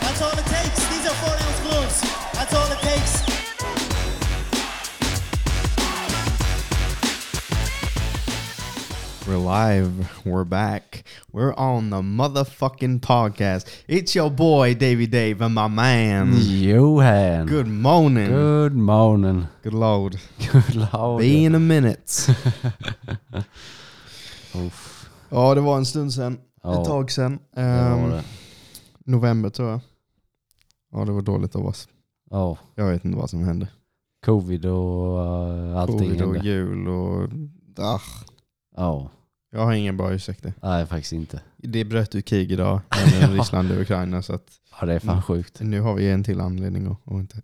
That's all it takes. These are four ounce gloves. That's all it takes. We're live. We're back. We're on the motherfucking podcast. It's your boy Davy Dave and my man. Johan. Good morning. Good, Mm. Good Oh, morning. lord. Good lord. Be in a minute. Uff. ja, det var en stund sen. Ja. Ett tag sen. det var Ehm, det. november tror jag. Ja, det var dåligt av oss. Ja, Jag vet inte vad som hände. covid och eh, allting. Covid och hände. jul och... Ah, Ja, jag har ingen bra ursäkt. nej faktiskt inte. Det bröt ut krig idag mellan Ryssland och Ukraina så att Ja, det är fan Mm. sjukt. nu har vi en till anledning att, att inte...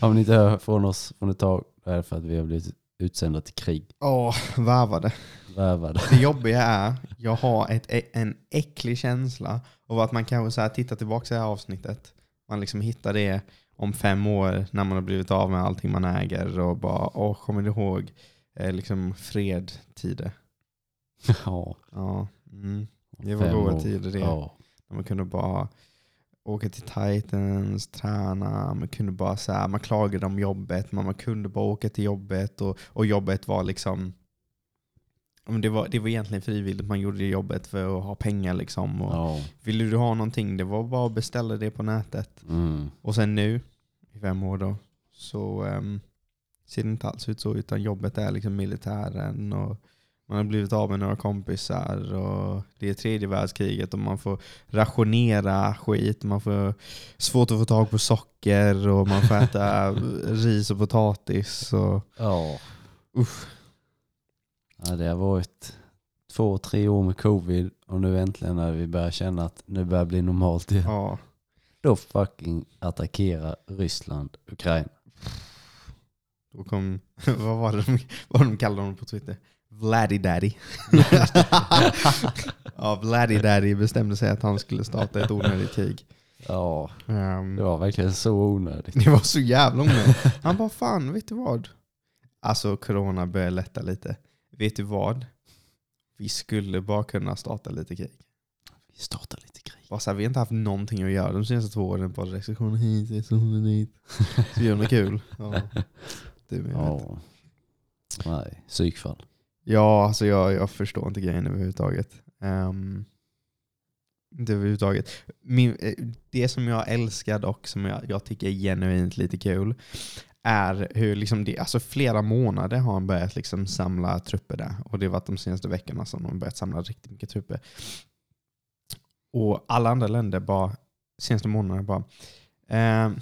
Om ni inte hör från oss från ett tag det är för att vi har blivit utsända till krig. Ja, varvade. Värvade. Det jobbiga är, jag har ett, en äcklig känsla av att man kanske så här tittar tillbaka till det här avsnittet. Man liksom hittar det om fem år när man har blivit av med allting man äger och bara, åh, kommer du ihåg eh, liksom fredtider? Ja. Ja, mm. det var fem goda år. tider det. Ja. När man kunde bara åka till Titans, träna, man kunde bara så här, man klagade om jobbet, men man kunde bara åka till jobbet och, och jobbet var liksom ja, men det var, det var egentligen frivilligt, man gjorde det jobbet för att ha pengar liksom. Och ja. Ville du ha någonting, det var bara att beställa det på nätet. Mm. Och sen nu, i fem år då, så ehm, ser det inte alls ut så. Utan jobbet är liksom militären och man har blivit av med några kompisar och det är tredje världskriget och man får rationera skit. Man får svårt att få tag på socker och man får äta ris och potatis. Och, ja. uff, Ja, det har varit två, tre år med covid och nu äntligen när vi börjar känna att nu börjar det bli normalt igen. ja. Då fucking attackerar Ryssland Ukraina. Då kom, vad var det de, vad de kallade honom på Twitter? Vladdy Daddy. ja, Vladdy Daddy bestämde sig att han skulle starta ett onödigt krig. Ja, Ehm, det var verkligen så onödigt. Det var så jävla onödigt. Han bara, fan vet du vad? Alltså corona börjar lätta lite. Vet du vad? Vi skulle bara kunna starta lite krig. Vi startar lite krig. Bara så här, vi har inte haft någonting att göra de senaste två åren. Bara restriktioner hit, restriktioner dit. Så vi gör något kul. Ja, du med. Ja. Ja. Nej, psykfall. ja, alltså jag, jag förstår inte grejen överhuvudtaget. Um, inte överhuvudtaget. Min, eh, det som jag älskar dock, som jag, jag tycker är genuint lite kul, är hur liksom det, alltså flera månader har han börjat liksom samla trupper där. Och det har varit de senaste veckorna som de har börjat samla riktigt mycket trupper. Och alla andra länder bara, senaste månaderna bara, eh,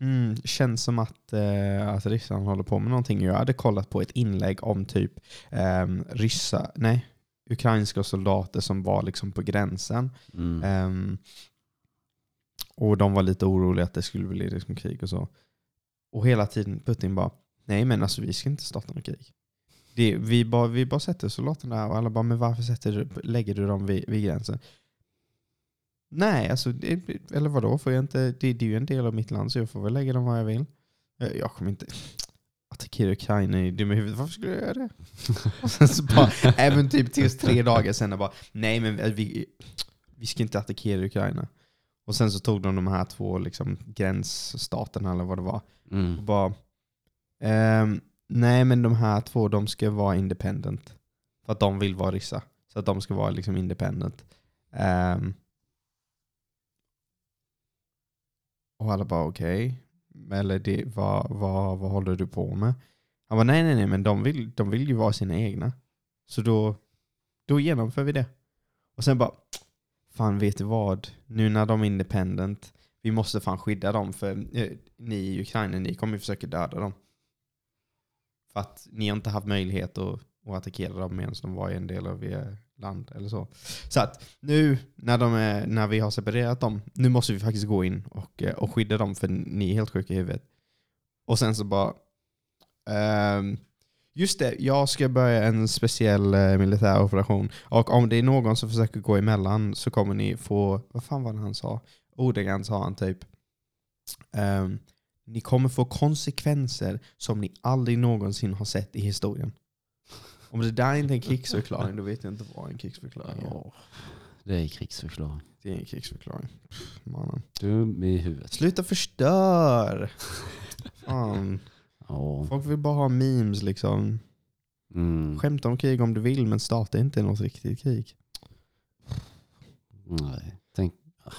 mm, känns som att, eh, att Ryssland håller på med någonting. Jag hade kollat på ett inlägg om typ eh, ryssa, nej, ukrainska soldater som var liksom på gränsen. Mm. Ehm, och de var lite oroliga att det skulle bli liksom krig och så. Och hela tiden Putin bara, nej men alltså vi ska inte starta något krig. Det, vi, bara, vi bara sätter soldaterna där och alla bara, men varför sätter du, lägger du dem vid, vid gränsen? Nej, alltså, det, eller vadå? Får jag inte, det, det är ju en del av mitt land så jag får väl lägga dem var jag vill. Jag, jag kommer inte attackera Ukraina i dumma huvudet. Varför skulle jag göra det? Och sen så bara, även typ tills tre dagar sen bara, nej men vi, vi ska inte attackera Ukraina. Och sen så tog de de här två liksom, gränsstaterna eller vad det var. Och Mm. bara, ehm, nej men de här två de ska vara independent. För att de vill vara ryssa. Så att de ska vara liksom independent. Ehm. och alla bara okej. Eller det, vad, vad, vad håller du på med? Han bara nej nej nej men de vill, de vill ju vara sina egna. Så då, då genomför vi det. Och sen bara, fan vet du vad? Nu när de är independent vi måste fan skydda dem för eh, ni i Ukraina, ni kommer ju försöka döda dem. För att ni har inte haft möjlighet att, att attackera dem medan de var i en del av er land eller så. Så att nu när, de är, när vi har separerat dem, nu måste vi faktiskt gå in och, eh, och skydda dem för ni är helt sjuka i huvudet. Och sen så bara, ehm, just det, jag ska börja en speciell eh, militär operation och om det är någon som försöker gå emellan så kommer ni få, vad fan var det han sa? ordagrant sa han typ ehm, Ni kommer få konsekvenser som ni aldrig någonsin har sett i historien. Om det där inte är en krigsförklaring, då vet jag inte vad en krigsförklaring är. Ja. Det är krigsförklaring. Det är en krigsförklaring. Pff, Mannen. Dum i huvudet. Sluta förstör! Fan. Ja. Folk vill bara ha memes liksom. Mm. Skämta om krig om du vill men starta inte något riktigt krig. Nej. Tänk, ah.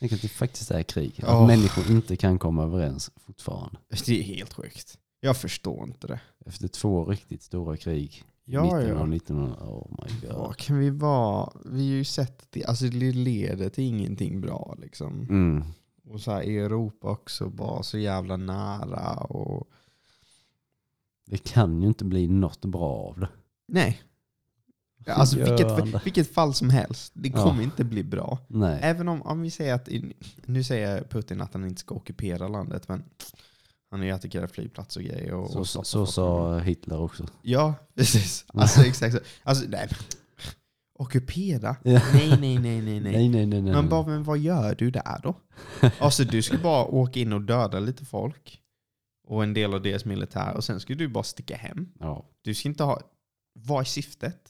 Tänk att det faktiskt är krig. Att Åh. människor inte kan komma överens fortfarande. Det är helt sjukt. Jag förstår inte det. Efter två riktigt stora krig. Ja, mitten ja. av 1900 Oh my Ja, god. kan vi vara... Vi har ju sett att det, alltså det leder till ingenting bra liksom. Mm. Och så här i Europa också bara så jävla nära och... Det kan ju inte bli något bra av det. Nej. Alltså Gör han det? vilket, vilket fall som helst. Det Ja. kommer inte bli bra. Nej. Även om, om vi säger att... i- Nu säger Putin att han inte ska ockupera landet men han har ju attackerat flygplats och grejer. Och, Så, och så, stoppat så folk. sa Hitler också. Ja, precis. Alltså exakt så. Alltså nej. men- Ockupera? Ja. Nej, nej, nej, nej, nej. Nej, nej, nej. nej. Men, bara, men vad gör du där då? Alltså du ska bara åka in och döda lite folk och en del av deras militär och sen ska du bara sticka hem. Ja. Du ska inte ha... Vad är syftet?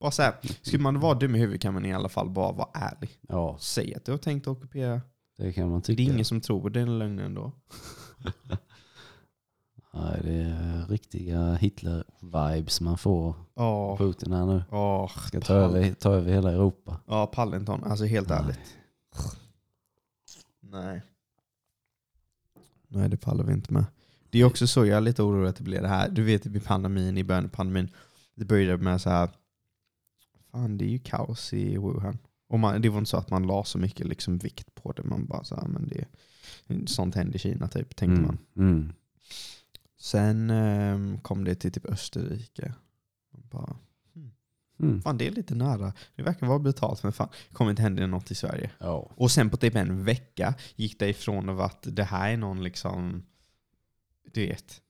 Bara så här, skulle man vara dum i huvudet kan man i alla fall bara vara ärlig. ja, Säg att du har tänkt att ockupera. det kan man Det är tycka. ingen som tror på den lögnen då. Nej, det är riktiga Hitler-vibes man får Ja, Putin här nu. ja, Ska ta över, ta över hela Europa. Ah. Mm. ja Pallenton. Alltså helt Nej. ärligt. Nej. Nej, det pallar vi inte med. Det är också så, jag är lite orolig att det blir det här. Du vet vid pandemin, i början av pandemin, det började med så här, fan det är ju kaos i Wuhan. Och man, det var inte så att man la så mycket liksom vikt på det. Man bara så här, men det, sånt händer i Kina typ, tänkte man. Mm. Mm. Sen ehm, kom det till typ Österrike. Man Bara, Mm. fan det är lite nära. Det verkar vara brutalt, men fan kommer inte hända något i Sverige. Ja. Och sen på typ en vecka gick det ifrån av att det här är någon liksom, du vet,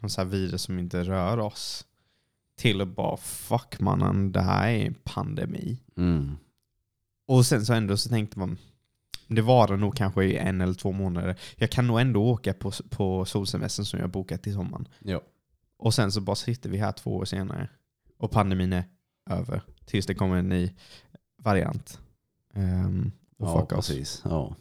någon så här virus som inte rör oss. Till att bara fuck mannen, det här är en pandemi. Mm. Och sen så ändå så tänkte man, det varar nog kanske i en eller två månader. Jag kan nog ändå åka på, på solsemestern som jag bokat till sommaren. Ja. Och sen så bara sitter vi här två år senare och pandemin är över. Tills det kommer en ny variant. Ehm, och ja, fuck oss. precis. Ja.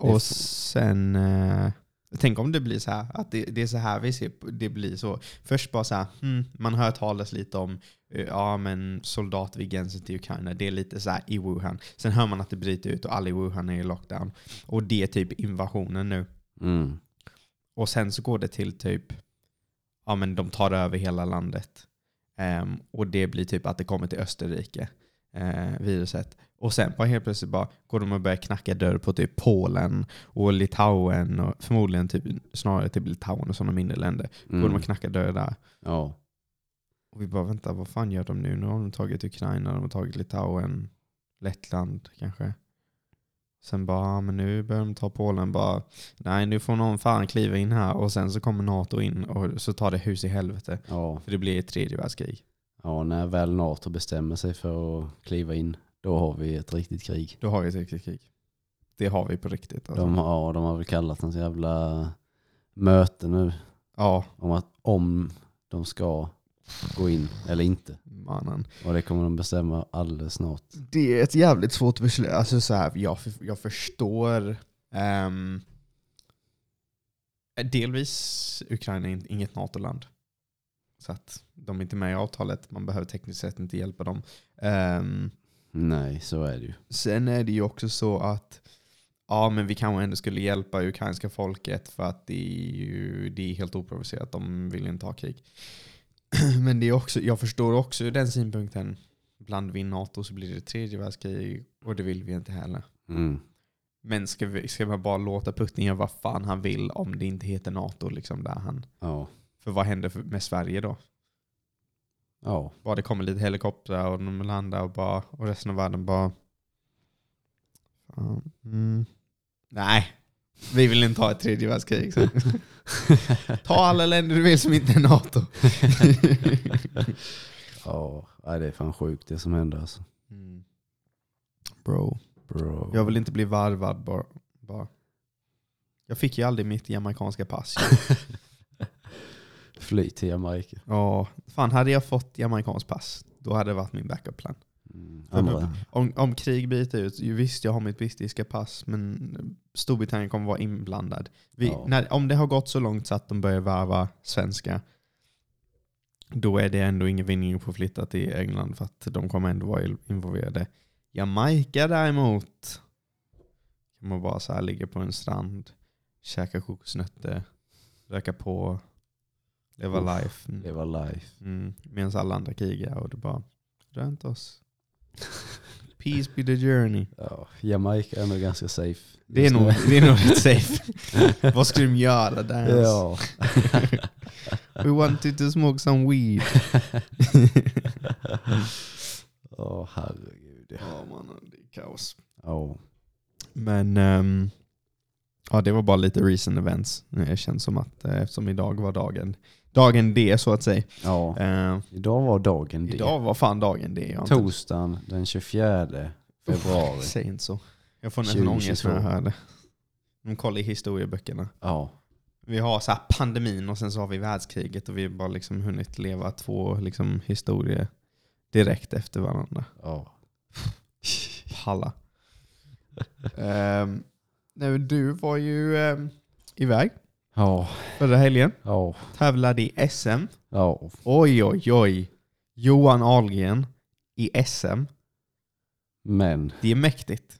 Det är Och så. sen... Eh, tänk om det blir så här. Att det, det är så här vi ser på- Det blir så. Först bara så här. Hmm, man hör talas lite om eh, ja, men soldat vid gränsen till Ukraina. Det är lite så här i Wuhan. Sen hör man att det bryter ut och alla i Wuhan är i lockdown. Och det är typ invasionen nu. Mm. Och sen så går det till typ... Ja men de tar över hela landet. Ehm, och det blir typ att det kommer till Österrike. eh, viruset. Och sen bara helt plötsligt bara går de och börjar knacka dörr på typ Polen och Litauen och förmodligen typ, snarare typ Litauen och sådana mindre länder. Mm. Går de och knackar dörr där. Ja. Och vi bara vänta, vad fan gör de nu? Nu har de tagit Ukraina, de har tagit Litauen, Lettland kanske. Sen bara, ah, men nu börjar de ta Polen bara, nej nu får någon fan kliva in här och sen så kommer NATO in och så tar det hus i helvete. Ja. För det blir ett tredje världskrig. ja, när väl NATO bestämmer sig för att kliva in, då har vi ett riktigt krig. Då har vi ett riktigt krig. Det har vi på riktigt. Alltså. De har, ja, de har väl kallat en så jävla möte nu Ja, om att om de ska gå in eller inte. mannen. Och det kommer de bestämma alldeles snart. Det är ett jävligt svårt beslut. Alltså så här, jag, jag förstår ehm, delvis Ukraina är in- inget NATO-land. Så att de är inte med i avtalet. Man behöver tekniskt sett inte hjälpa dem. Ehm, Nej, så är det ju. sen är det ju också så att ja, men vi kanske ändå skulle hjälpa ukrainska folket för att det är ju det är helt oprovocerat. De vill inte ha krig. Men det är också, jag förstår också ur den synpunkten. Blandar vi in NATO så blir det tredje världskrig och det vill vi inte heller. Mm. Men ska, vi, ska man bara låta Putin göra vad fan han vill om det inte heter NATO? Liksom, där han, Ja. för vad händer för- med Sverige då? Ja. Bara det kommer lite helikoptrar och de landar och, bara, och resten av världen bara... Fan, mm, nej, vi vill inte ha ett tredje världskrig. Så. Ta alla länder du vill som inte är NATO. ja, nej, det är fan sjukt det som händer alltså. Bro. Bro. Jag vill inte bli varvad bara. bara. Jag fick ju aldrig mitt jamaicanska pass. Fly till Jamaica. Ja, fan hade jag fått jamaicanskt pass, då hade det varit min backup plan. Mm, För andra. Om, om krig bryter ut, ju visst jag har mitt brittiska pass men Storbritannien kommer vara inblandad. Vi, Ja. när, om det har gått så långt så att de börjar varva svenska, då är det ändå ingen vinning på att flytta till England för att de kommer ändå vara involverade. Jamaica däremot, kan man bara så här ligga på en strand, käka kokosnötter, röka på, leva Uff, life. Mm. Leva life. Mm. Medan alla andra krigar och det bara rönt oss. Peace be the journey. Ja, Jamaica är nog ganska safe. Det är just nog, nu. det är nog rätt safe. Vad skulle de göra där? ens? Ja. We wanted to smoke some weed. Åh herregud. Ja man, det är kaos. Ja. Men ehm, ja, det var bara lite recent events. Det känns som att eh, eftersom idag var dagen, dagen D så att säga. Ja. Eh, Idag var dagen D. idag var fan dagen D. Jag har inte- Torsdagen den 24 februari. Säg inte så. Jag får nästan ångest när jag 2022. hör det. De kollar i historieböckerna. Ja. Vi har så här pandemin och sen så har vi världskriget och vi har bara liksom hunnit leva två liksom historier direkt efter varandra. ja. Palla. Ehm, nej, men du var ju ehm, iväg Ja. förra helgen. Ja. Tävlade i SM. Ja. Oj, oj, oj. Johan Ahlgren i SM. Men. Det är mäktigt.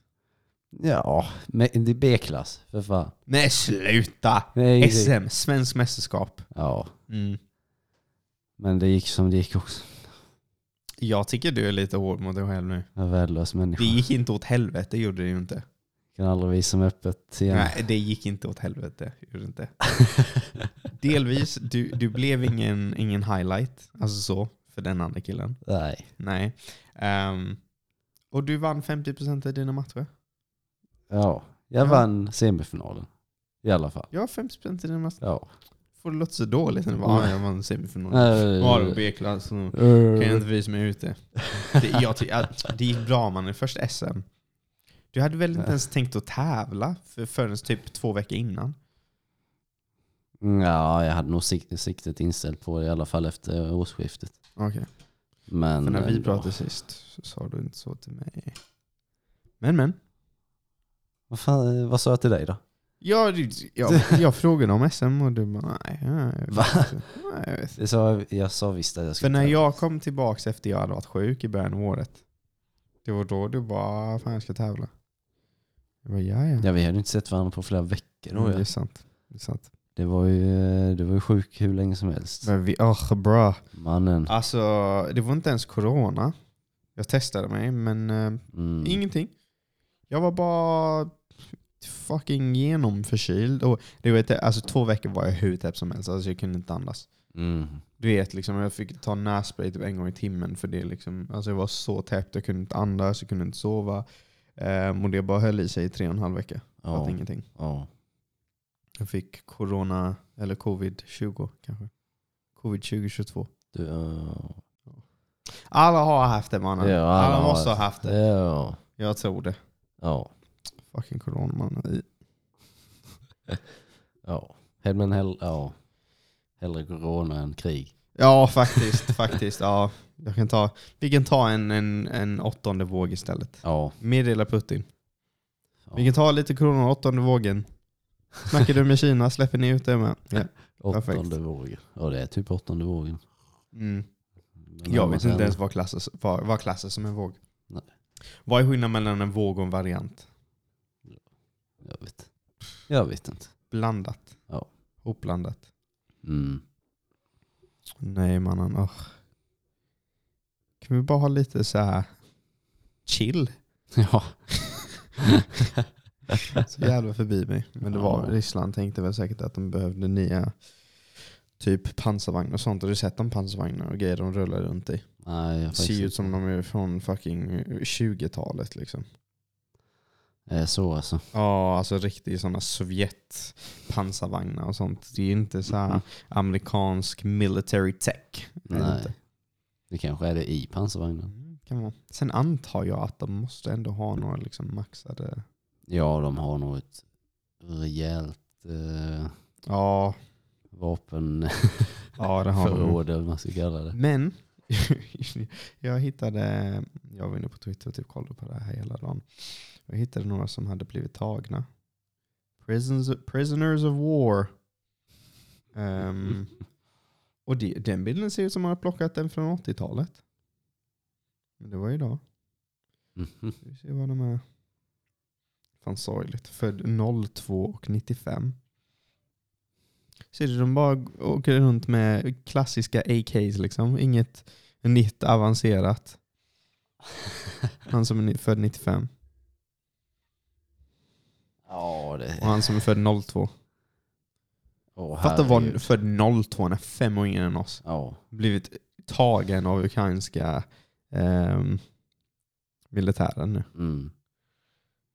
Ja. Men det är B-klass. För fan. Nej, sluta! Nej, det- SM, svensk mästerskap. Ja. Mm. Men det gick som det gick också. Jag tycker du är lite hård mot dig själv nu. En värdelös människa. Det gick inte åt helvete, gjorde det ju inte. Kan aldrig visa mig öppet igen. Nej, det gick inte åt helvete. Gjorde det inte. Delvis, du, du blev ingen, ingen highlight, alltså så, för den andra killen. Nej. Nej. Ehm, och du vann 50% av dina matcher. Ja. Jag Ja. vann semifinalen. I alla fall. Ja, 50% av dina matcher. Ja. Får det låta så dåligt när du bara, "Ah, jag vann semifinalen. Var det Äh, B-klass, så kan jag äh, inte visa mig ute. Det, jag ty- att det gick bra man i första SM. Du hade väl inte ens tänkt att tävla för, förrän typ två veckor innan? ja, jag hade nog sikt, siktet inställt på det i alla fall efter årsskiftet. Okej. Men För när vi ändå. pratade sist så sa du inte så till mig. Men men. Vad, fan, vad sa jag till dig då? Jag, jag, jag frågade om SM och du bara nej. nej, jag Va? vet inte. Nej, jag vet. inte." Jag sa, jag sa visst att jag För skulle när ta- jag kom tillbaks efter jag hade varit sjuk i början av året. Det var då du bara, "Ah, fan jag ska tävla. Jag bara, ja ja. Ja, vi hade inte sett varandra på flera veckor då. Mm, det är ja. sant. Det är sant. Det var ju, det var ju sjuk hur länge som helst. Men vi, oh, bra. Mannen. Alltså det var inte ens corona. Jag testade mig men eh, Mm. Ingenting. Jag var bara fucking genomförkyld. Och du vet, alltså, två veckor var jag hur täppt som helst. Alltså, jag kunde inte andas. Mm. Du vet, liksom, jag fick ta nässpray typ en gång i timmen för det. Liksom, alltså, jag var så täppt, jag kunde inte andas, jag kunde inte sova. Ehm, och det bara höll i sig i tre och en halv vecka. Ja, Fattade ingenting. ja. Jag fick corona, eller covid-20 kanske. Covid-2022. Du, ja. Alla har haft det mannen. Ja, alla alla, har måste ha haft det. Ja. Jag tror det. Ja. Fucking corona mannen. Ja. Men hell, ja. Hellre corona än krig. Ja, faktiskt. faktiskt ja. Jag kan ta, vi kan ta en, en, en åttonde våg istället. Ja. Meddela Putin. ja. Vi kan ta lite corona, åttonde vågen. Snackar du med Kina släpper ni ut det med. Ja. åttonde perfekt. vågen. Ja, det är typ åttonde vågen. Mm. Men Jag annars vet är inte det- ens vad klassas, vad, vad klassas som en våg. Nej. Vad är skillnaden mellan en våg och en variant? Jag vet, jag vet inte. Blandat. Ja. Hopblandat. Mm. Nej mannen. Oh. Kan vi bara ha lite så här chill? Ja. Så jävla förbi mig. Men det var Ja. Ryssland tänkte väl säkert att de behövde nya typ pansarvagnar och sånt. Har du sett de pansarvagnar och grejer de rullar runt i? Nej, jag Ser ju ut som de är från fucking 20-talet liksom. de... Så alltså. Ja, alltså riktigt sådana Sovjet pansarvagnar och sånt. Det är ju inte så här Mhm. amerikansk military tech. Är det Nej. inte? Det kanske är det i pansarvagnen. Kan man. Sen antar jag att de måste ändå ha några liksom maxade... Ja, de har nog ett rejält eh, Ja, vapen ja det har de. förråd eller vad man ska kalla det. Men jag hittade, jag var inne på Twitter och typ kollade på det här hela dagen. Jag hittade några som hade blivit tagna. Prisons, prisoners of war. Ehm, och det, den bilden ser ut som att man har plockat den från 80-talet. Men det var idag. Mhm. Vi ser vad de är. Fan sorgligt. Född 02 och 95. Ser du, de bara åker runt med klassiska AKs liksom. Inget nytt avancerat. Han som är ni- född 95 Ja, och det... han som är född 02. Åh, Fatta vad herregud. en född 02 när fem år yngre än oss. Ja. Blivit tagen av ukrainska ehm, militären nu. Mm.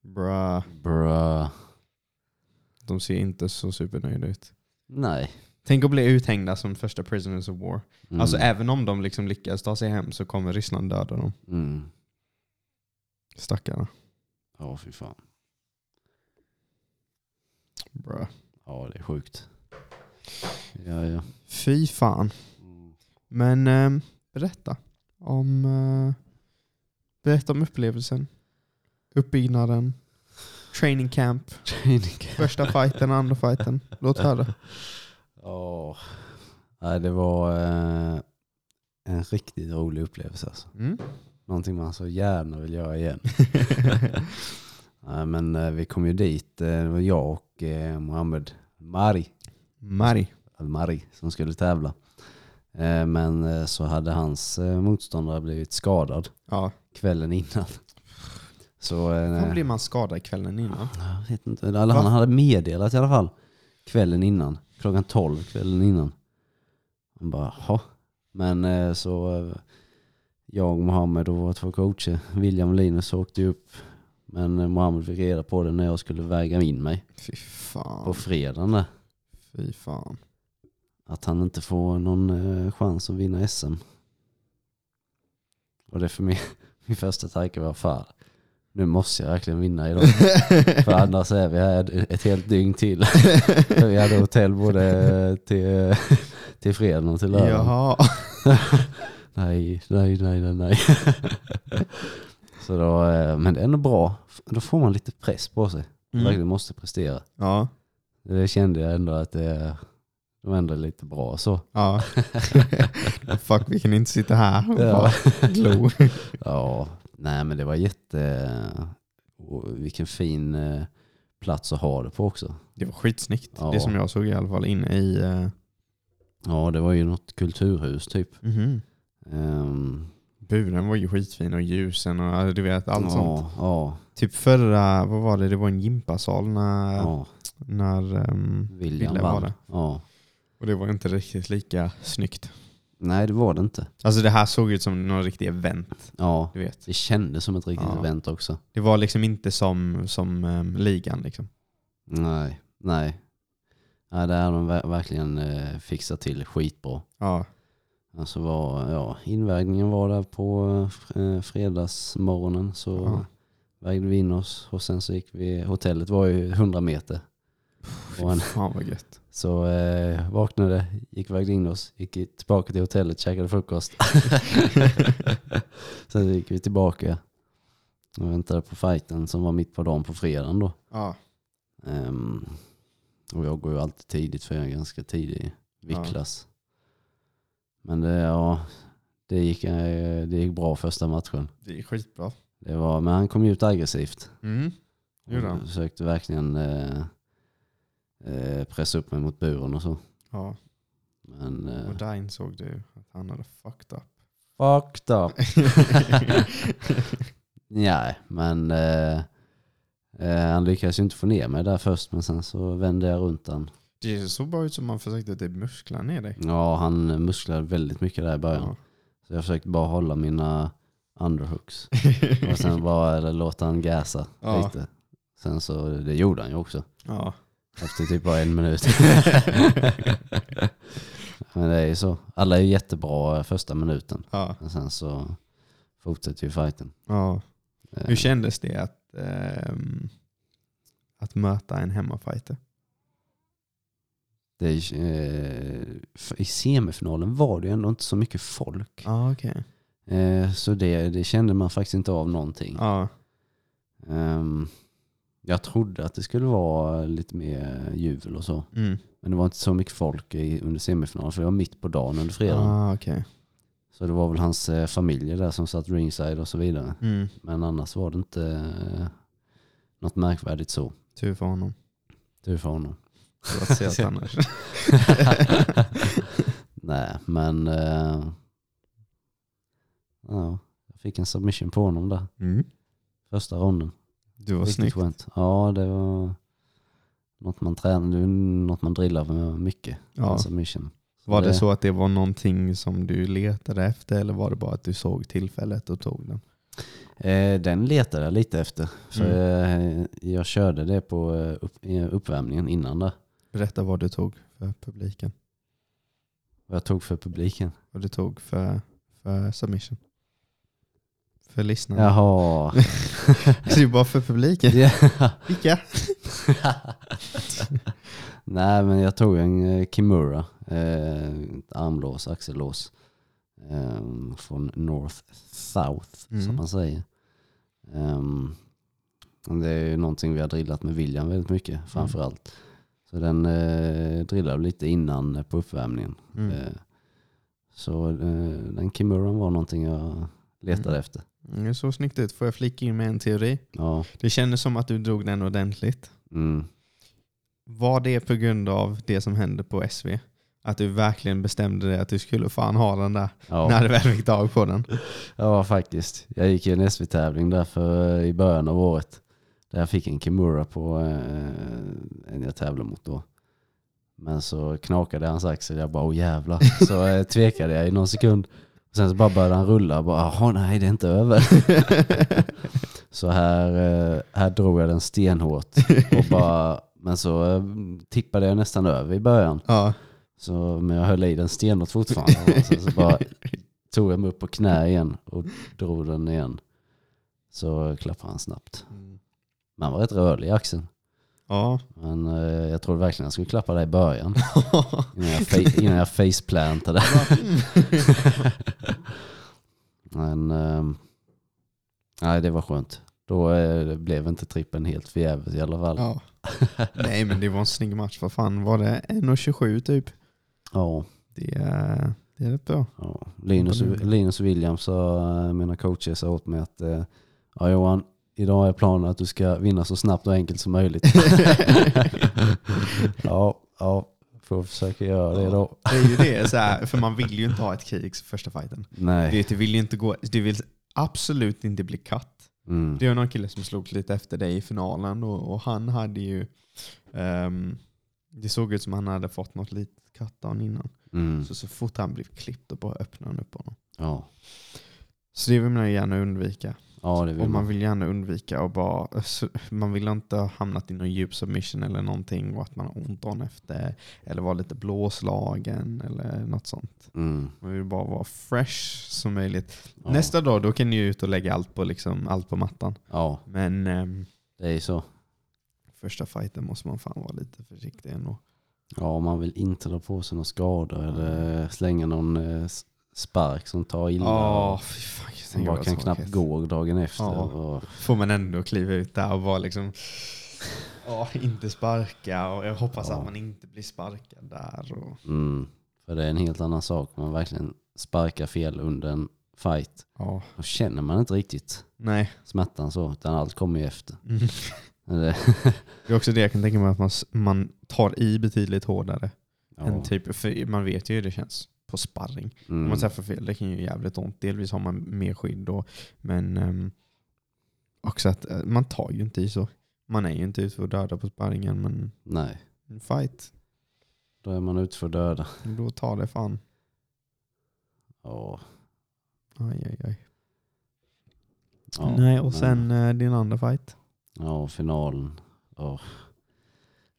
Bra. Bra. De ser inte så supernöjda ut. Nej. Tänk att bli uthängda som första prisoners of war. Mm. Alltså även om de liksom lyckas ta sig hem så kommer Ryssland döda dem. Mm. Stackarna. Ja, fy fan. Bra. Ja, det är sjukt. Ja, ja. Fy fan. Mm. Men ehm, berätta om eh, berätta om upplevelsen. Uppbyggnaden. Training camp. Första fighten, andra fighten. Låt höra. Ja. Nej, det var eh, en riktigt rolig upplevelse alltså. Mm. Någonting man så gärna vill göra igen. Nej, men eh, vi kom ju dit. eh, Det var jag och eh, Mohammed Mari, Mari. eller Mari som skulle tävla. Eh, men eh, så hade hans eh, motståndare blivit skadad Ja. kvällen innan. Så, eh, Då blir man skadad kvällen innan. Jag vet inte. Eller han Va? hade meddelat i alla fall kvällen innan. Klockan 12 kvällen innan. Han bara, jaha. Men eh, så eh, jag och Mohammed och våra två coacher, William och Linus, åkte ju upp. Men eh, Mohammed fick reda på det när jag skulle väga in mig Fy på fan. fredagen där. Fy fan. Att han inte får någon eh, chans att vinna SM. Och det för mig, min första tanke var fan, nu måste jag verkligen vinna idag. För annars är vi här ett helt dygn till. För vi hade hotell både till, till fredagen och till lördagen. Jaha. Nej, nej, nej, nej, nej. Så då, eh, men det är ändå bra. Då får man lite press på sig. Man Mm. Verkligen måste prestera. Ja. Det kände jag ändå att det det var ändå lite bra så. Ja. Fuck, vi kan inte sitta här och Ja. bara glo. Ja, nej men det var jätte... och Vilken fin eh, plats att ha det på också. Det var skitsnyggt. Ja. Det som jag såg i alla fall inne i... eh, Ja, det var ju något kulturhus typ. Ehm, Buren var ju skitfin och ljusen och eh, du vet allt ja, sånt. Ja, Typ förra, vad var det, det var en gympasal när, ja. när ehm, William Ville var vann. det. Ja. Och det var inte riktigt lika snyggt. Nej, det var det inte. Alltså det här såg ut som någon riktig event, Ja, du vet. det kändes som ett riktigt Ja. event också. Det var liksom inte som, som ehm, ligan liksom. Nej, nej. Ja, det har de ver- verkligen eh, fixat till skitbra. Ja. Alltså var, ja, invägningen var där på eh, fredagsmorgonen så Ja. vägde vi in oss och sen så gick vi, hotellet var ju 100 meter. Och Fy en- fan vad gött. Så eh, vaknade, gick vägde in oss, gick tillbaka till hotellet, käkade frukost. sen gick vi tillbaka och väntade på fighten som var mitt på dagen på fredagen då. Ja. Ehm, och jag går ju alltid tidigt för jag är ganska tidig i Ja. viktklass. Men det, ja, det, gick, eh, det gick bra första matchen. Det är skitbra. Det var, men han kom ut aggressivt. Mm. Gjorde han? försökte verkligen eh, eh, pressa upp mig mot buren och så. Ja. Men eh, Och där insåg du att han hade fucked up. fucked up. Nej, men eh, eh, han lyckades ju inte få ner mig där först men sen så vände jag runt han. Det såg bara ut som man försökte typ muskla ner dig. Ja, han musklade väldigt mycket där i början. Ja. Så jag försökte bara hålla mina underhooks. Och sen bara eller, låta han gasa Ja. lite. Sen så, det gjorde han ju också. ja. Efter typ bara en minut. Men det är ju så. Alla är ju jättebra första minuten. ja. Men sen så fortsätter ju fighten. ja. Eh, Hur kändes det att, ehm, att möta en hemmafighter? Det, är, eh, f- I semifinalen var det ju ändå inte så mycket folk. Ja, okej. Eh, så det, det kände man faktiskt inte av någonting. Ja. Ehm, jag trodde att det skulle vara lite mer jubel och så. Mm. Men det var inte så mycket folk i, under semifinalen för det var mitt på dagen under fredagen. Ah, okej. Så det var väl hans eh, familjer där som satt ringside och så vidare. Mm. Men annars var det inte eh, något märkvärdigt så. Tur för honom. Tur för honom. Det var segt annars. Nej, men eh, ja, jag fick en submission på honom där. Mm. Första ronden. Du var Riktigt snygg. skönt. Ja, det var något man tränar, det är något man drillar med mycket. Ja. Submission. Var Alltså, det det- så att det var någonting som du letade efter eller var det bara att du såg tillfället och tog den? Eh, den letade jag lite efter. För Mm. eh, jag körde det på eh, upp, eh, uppvärmningen innan där. Berätta vad du tog för publiken. Vad jag tog för publiken. Vad du tog för, för submission. För lyssnarna. Jaha. Det är bara för publiken. Ja. Vilka? Nej men jag tog en eh, Kimura, eh, armlås, axellås eh, från North South Mm. som man säger. Ehm, och det är ju någonting vi har drillat med William väldigt mycket Mm. framförallt. Så den eh, drillade vi lite innan eh, på uppvärmningen. Mm. Eh, så eh, den Kimuran var någonting jag letade efter. Mm, Det såg snyggt ut. Får jag flika in med en teori? Ja, Det kändes som att du drog den ordentligt. mm, Var det på grund av det som hände på SV? Att du verkligen bestämde dig att du skulle fan ha den där ja. när du väl fick tag på den? Ja, faktiskt. Jag gick ju en SV-tävling där för, eh, i början av året. Där jag fick en Kimura på eh, en jag tävlade mot då. Men så knakade hans axel. Jag bara, åh jävlar. Så eh, tvekade jag i någon sekund. Sen så bara började han rulla. Jag bara, jaha nej det är inte över. så här, eh, här drog jag den stenhårt. Och bara, men så eh, tippade jag nästan över i början. Ja. Så, men jag höll i den stenhårt fortfarande. Och sen så bara tog jag mig upp på knä igen och drog den igen. Så klappade han snabbt. Men han var rätt rörlig i axeln. Ja. Men eh, jag trodde verkligen han skulle klappa där i början. Innan jag, fa- innan jag faceplantade. Men eh, nej, det var skönt. Då eh, blev inte trippen helt förgäves i alla fall. Ja. ja. Nej men det var en snygg match. Vad fan var det? 1.27 typ. Ja, Det är, det är rätt bra. Linus, Linus och William sa, eh, mina coacher sa åt mig att eh, ja, Johan, idag är planen att du ska vinna så snabbt och enkelt som möjligt. ja, ja, får försöka göra det då. Det är ju det, så här, för man vill ju inte ha ett krig i första fighten. Du, Nej. vet, du vill ju inte gå, du vill absolut inte bli katt. Mm. Det var någon kille som slog lite efter dig i finalen och, och han hade ju, ehm, det såg ut som han hade fått något litet katt dagen innan. Mm. Så, så fort han blev klippt och bara öppnade han upp honom. Ja. Så det vill man ju gärna undvika. ja, det vill Och man man. vill gärna undvika och bara, så- man vill inte ha hamnat i någon djup submission eller någonting och att man har ont dagen efter. Eller vara lite blåslagen eller något sånt. Mm. Man vill bara vara fresh som möjligt. Ja. Nästa dag då kan ni ju ut och lägga allt på, liksom, allt på mattan. ja, Men ehm, det är ju så. första fighten måste man fan vara lite försiktig ändå. Ja, man vill inte dra på sig några skador eller slänga någon eh, s- spark som tar illa. Ja, och fy fan. jag som tänker bara vad kan tråkigt. knappt gå dagen efter. Ja. Och, Får man ändå kliva ut där och bara liksom, ja, inte sparka. Och jag hoppas Ja. att man inte blir sparkad där. Och, mm. För det är en helt annan sak. Man verkligen sparkar fel under en fight. Ja. Då känner man inte riktigt Nej. smärtan så, utan allt kommer ju efter. Mm. Eller, Det är också det jag kan tänka mig, att man, s- man tar i betydligt hårdare. ja. Än typ, för man vet ju hur det känns på sparring. Om mm. man träffar fel, det kan ju göra jävligt ont. Delvis har man mer skydd då. Men ehm, också att eh, man tar ju inte i så. Man är ju inte ute för att döda på sparringen, men Nej, en fight, då är man ute för att döda. då tar det fan. Ja. Aj, aj, aj. Ja, Nej, och men- sen eh, din andra fight. Ja, finalen. Oh.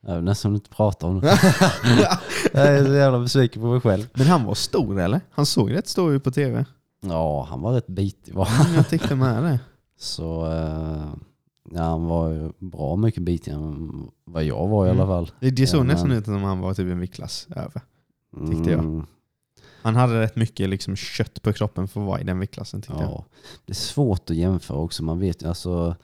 Jag vill nästan inte prata om det. Jag är så jävla besviken på mig själv. Men han var stor eller? Han såg rätt stor ut på tv. Ja, han var rätt bitig var han. Mm, Jag tyckte med det. Så eh, Ja, han var ju bra mycket bitigare än vad jag var i Mm. alla fall. Det, det såg Ja, men- nästan ut som han var typ en viktklass över. Tyckte jag. Mm, Han hade rätt mycket liksom kött på kroppen för att vara i den viktklassen tyckte jag. Ja. Det är svårt att jämföra också. Man vet ju, alltså,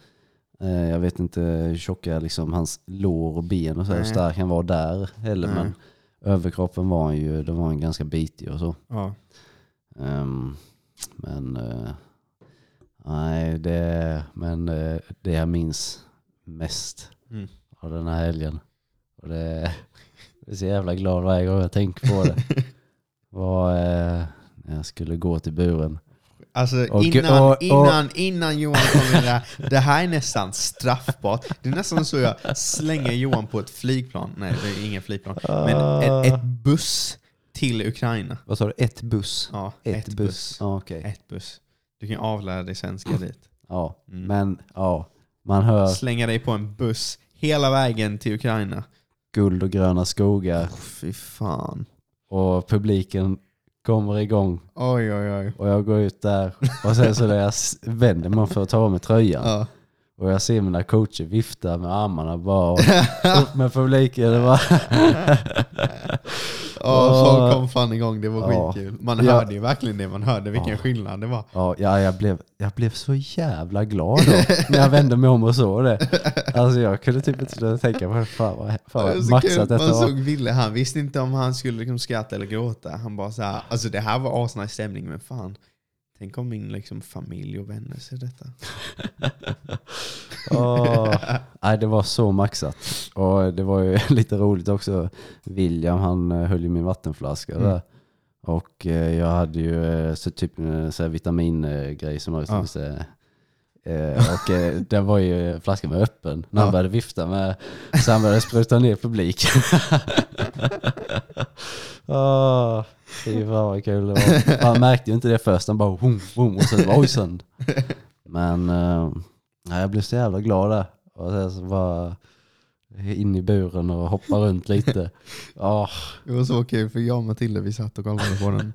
eh, jag vet inte hur tjocka liksom, hans lår och ben och så här, hur Nej. stark han var där heller. Nej. Men överkroppen var han ju, då var han ganska bitig och så. Ja. Ehm, men eh, nej, det, men eh, det jag minns mest Mm. av den här helgen. Och det, jag är så jävla glad varje gång jag tänker på det. var eh, när jag skulle gå till buren. Alltså Och- innan, och- och- innan, innan Johan kom in där, det här är nästan straffbart. Det är nästan så jag slänger Johan på ett flygplan. Nej, det är ingen flygplan. Men ett, ett buss till Ukraina. Vad sa du? Ett buss? Ja, ett, buss. Ja, okej. Ett buss. Du kan ju avlära dig svenska dit. Ja, Mm. men ja, man hör Slänga dig på en buss hela vägen till Ukraina. guld och gröna skogar Oh, fy fan. och publiken kommer igång Oj, oj, oj. och jag går ut där och sen så när jag s- vänder mig för att ta av mig tröjan Ja. och jag ser mina coacher vifta med armarna bara och upp med publiken. Det var, Ja, Åh. folk kom fan igång. Det var Ja. skitkul. Man Ja. hörde ju verkligen det. Man hörde vilken Ja. skillnad det var. ja, ja, jag, blev, jag blev så jävla glad då när jag vände mig om och såg det. Alltså jag kunde typ inte sluta tänka på fan vad, fan Det var vad så kul. maxat detta Man var. såg Ville, han visste inte om han skulle liksom skratta eller gråta. Han bara så här, alltså det här var asnice stämning, men fan. Tänk om min liksom familj och vänner ser detta. Åh. Nej, det var så maxat. Och det var ju lite roligt också. William han eh, höll ju min vattenflaska Mm. där. Och eh, jag hade ju eh, så typ en så här vitamingrej som jag Ja. ja. Eh, och eh, den var ju, flaskan var öppen när han Ja. började vifta med, så han började spruta ner publiken. Åh, fy fan vad kul det var. Han märkte ju inte det först, han bara boom, boom och sen bara ojsan. Men eh, nej, jag blev så jävla glad där. Och sen så bara in i buren och hoppa runt lite. Ah, Åh, Det var så kul, för jag och Matilda vi satt och kollade på den.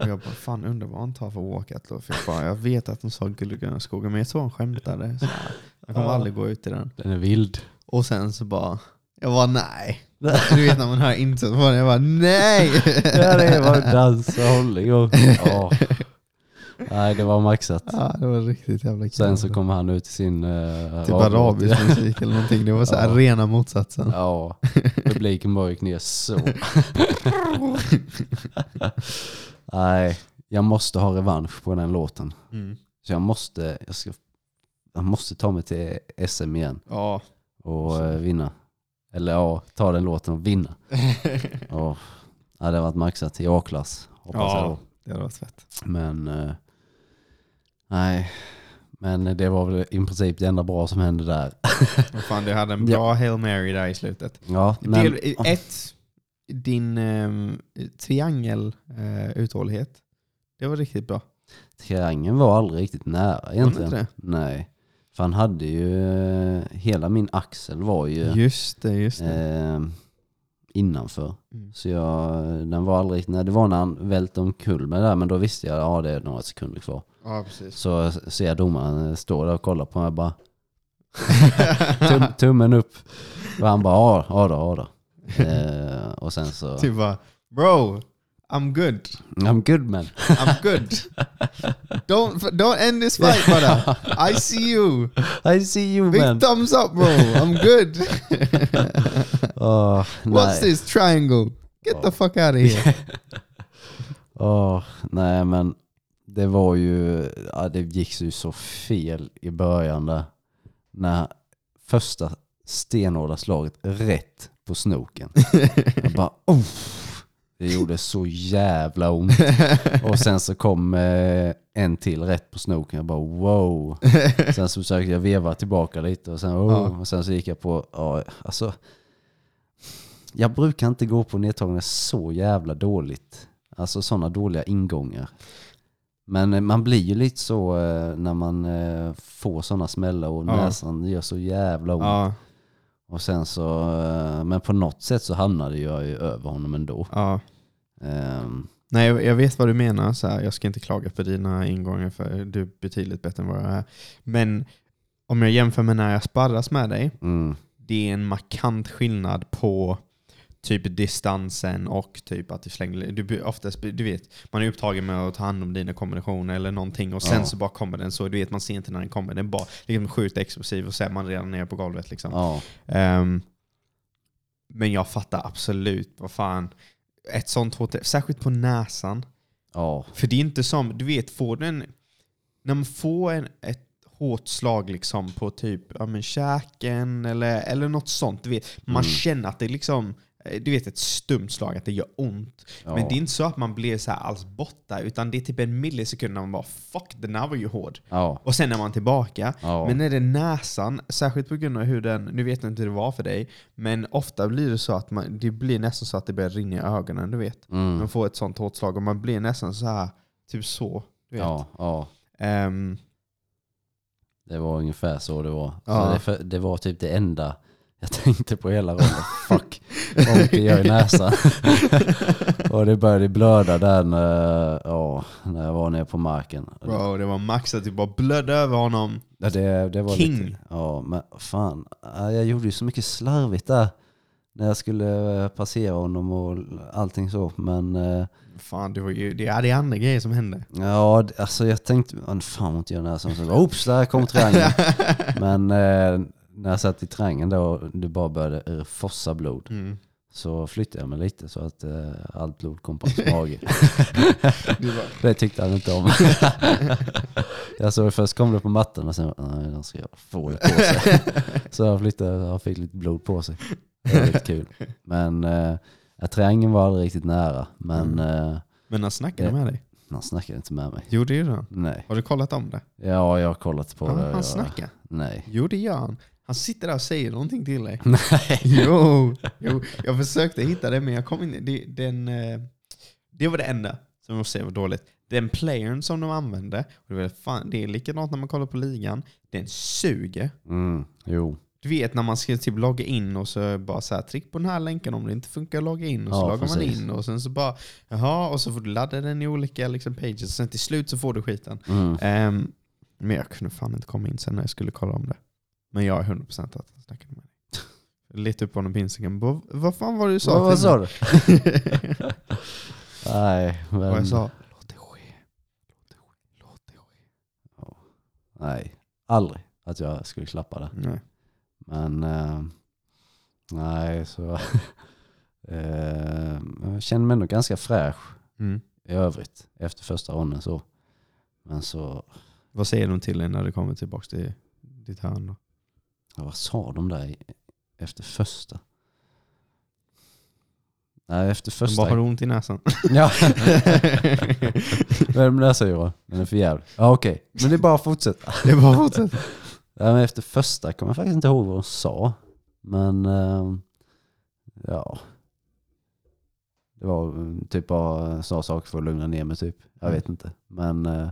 Och jag bara, fan undrar vad han tar för walkout då? För jag, bara, jag vet att de sa guld och gröna skogar, men jag tror han skämtade. Så här, jag kommer Ja. aldrig gå ut i den. den är vild. Och sen så bara, jag var nej. Du vet när man hör introt på den, jag bara nej. Ja, det var dans och hållning. Och, åh. Nej, det var maxat. Ja, det var riktigt jävla kul. Sen så kommer han ut i sin... Uh, Typ arabisk musik eller någonting. Det var så här Ja. rena motsatsen. Ja, publiken bara gick ner så. Nej, jag måste ha revansch på den låten. Mm. Så jag måste, jag ska, jag måste ta mig till SM igen Ja. och eh, vinna. Eller ja, ta den låten och vinna. Ja, det hade varit maxat i A-klass, hoppas Ja. jag då. det hade varit fett. Men eh, nej, men det var väl i princip det enda bra som hände där. Och fan, du hade en bra Hail Mary där i slutet. Ja, men, Del, ett, din um, triangel eh, uthållighet. Det var riktigt bra. triangeln var aldrig riktigt nära egentligen. inte det? Nej, för han hade ju, eh, hela min axel var ju Just det, just det. eh, innanför. Mm. Så jag, den var aldrig riktigt, nej, det var när han välte omkull med det där, men då visste jag att ja, det är några sekunder kvar. Ja, precis. Så ser jag domaren eh, stå där och kolla på mig och bara tum, tummen upp. Och han bara ja, ja då, ja då. Eh, och sen så, typ bara, bro, I'm good. I'm good man. I'm good. don't, don't end this fight brother. I see you. I see you Big man. thumbs up bro. I'm good. Åh, What's nej. this triangle? Get the Ja. fuck out of here. Åh, nej men det var ju, ja, det gick ju så fel i början där. När första stenhårda slaget rätt på snoken. Jag bara oh, Det gjorde så jävla ont. Och sen så kom eh, en till rätt på snoken. Jag bara wow. Sen så försökte jag veva tillbaka lite och sen, oh, Ja. och sen så gick jag på, ja, alltså. Jag brukar inte gå på nedtagningar så jävla dåligt. Alltså sådana dåliga ingångar. Men eh, man blir ju lite så eh, när man eh, får sådana smällar och Ja. näsan gör så jävla ont. ja, Och sen så, eh, men på något sätt så hamnade jag ju över honom ändå. ja. Ehm, Nej, jag jag vet vad du menar. Så här, jag ska inte klaga på dina ingångar för du är betydligt bättre än vad jag är. Men om jag jämför med när jag sparras med dig, Mm. det är en markant skillnad på typ distansen och typ att du slänger... Du, blir oftast, du vet, man är upptagen med att ta hand om dina kombinationer eller någonting och sen Ja. så bara kommer den så. Du vet, man ser inte när den kommer. Den bara liksom sjukt explosiv och så är man redan nere på golvet. Liksom. Ja. Ehm, men jag fattar absolut vad fan. Ett sånt hotell, särskilt på näsan. Ja. För det är inte som, du vet, får du en, när man får en, ett hårt slag liksom på typ ja, men käken eller, eller något sånt, du vet, man känner att det är liksom, eh, du vet ett stumt slag, att det gör ont. ja. Men det är inte så att man blir så här alls borta, utan det är typ en millisekund när man bara fuck, den här var ju hård. Ja. Och sen är man tillbaka. Ja. Men är det näsan, särskilt på grund av hur den, nu vet jag inte hur det var för dig, men ofta blir det så att man, det blir nästan så att det börjar rinna i ögonen, du vet. Man Mm. får ett sånt hårt slag och man blir nästan så här typ så. Du vet. Ja. Ja. Ehm, Det var ungefär så det var. Ja. Så det, för, det var typ det enda jag tänkte på hela rollen. Fuck, vad ont det gör i näsan. och det började blöda där när, ja, när jag var nere på marken. bro, det var Max att du bara blödde över honom. Ja, det, det var King. Lite, ja, men fan. ja, Jag gjorde ju så mycket slarvigt där. När jag skulle eh, passera honom och allting så. Men eh, Fan, det var ju det, ja, det är andra grejer som hände. ja, det- alltså jag tänkte, "Åh, fan vad ont det gör i näsan. Så, Oops, där kom triangeln. men eh, när jag satt i triangeln då och det bara började eh, fossa blod. Mm. Så flyttade jag mig lite så att eh, allt blod kom på hans mage. Du bara, Det tyckte han inte om. jag såg först kom det på mattan och sen, nej han ska få det på sig. så jag flyttade, han fick lite blod på sig. Det var lite kul. Men eh, ja, triangeln var aldrig riktigt nära. Men eh, men han snackade med dig. han snackade inte med mig. Jo, det gjorde han. Nej. Har du kollat om det? Ja, jag har kollat på Ja, det. han Jag, snackar. Nej. Jo, det gör han. Han sitter där och säger någonting till dig. Nej. Jo, jo jag försökte hitta det men jag kom inte... Det, den, eh, det var det enda som jag måste säga var dåligt. Den playern som de använde, och det, var fan, det är likadant när man kollar på ligan, den suger. Mm, jo. Du vet när man ska typ logga in och så bara så här, tryck på den här länken om det inte funkar logga in. Och så Ja, loggar man precis. in och sen så bara, jaha, och så får du ladda den i olika liksom, pages. Och sen till slut så får du skiten. Mm. Ehm, men jag kunde fan inte komma in sen när jag skulle kolla om det. Men jag är 100% att han snackade med dig. Lite upp på honom på Instagram. Vad, vad fan var det du sa? Vad, vad till sa mig? du? nej, men, Vad jag sa? Ehm, Låt det ske. Låt det ske. Låt det ske. nej. Aldrig att jag skulle klappa det. Nej. Men eh, nej, så eh, jag känner mig ändå ganska fräsch Mm. i övrigt efter första ronden så. Men så, Vad säger de till dig när du kommer tillbaka till ditt hörn? då? ja, vad sa de där i- efter första? Nej, efter De bara har första. du ont i näsan. Ja. Vad är det med det här, säger jag? Den är för jävlig. Ja okej, men det är bara att fortsätta. det är bara att fortsätta. Nej, men efter första kommer jag faktiskt inte ihåg vad de sa. Men eh, ja. Det var eh, typ bara sa saker för att lugna ner mig typ. Jag Mm. vet inte. Men eh,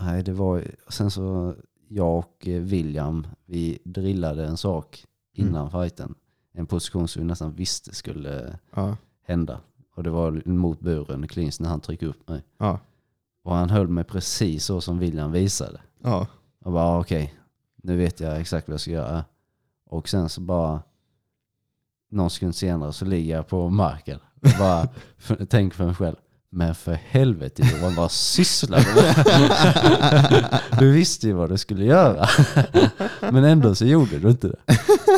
nej, det var sen så jag och eh, William vi drillade en sak Mm. innan fighten. En position som vi nästan visste skulle Ja. hända. Och det var mot buren, clinch, när han tryckte upp mig. Ja. Och han höll mig precis så som William visade. Ja. Och bara ah, okej, nu vet jag exakt vad jag ska göra. Och sen så bara någon sekund senare så ligger jag på marken. Och bara f- tänker för mig själv. Men för helvete Johan, vad sysslar du med? Du visste ju vad du skulle göra. Men ändå så gjorde du inte det.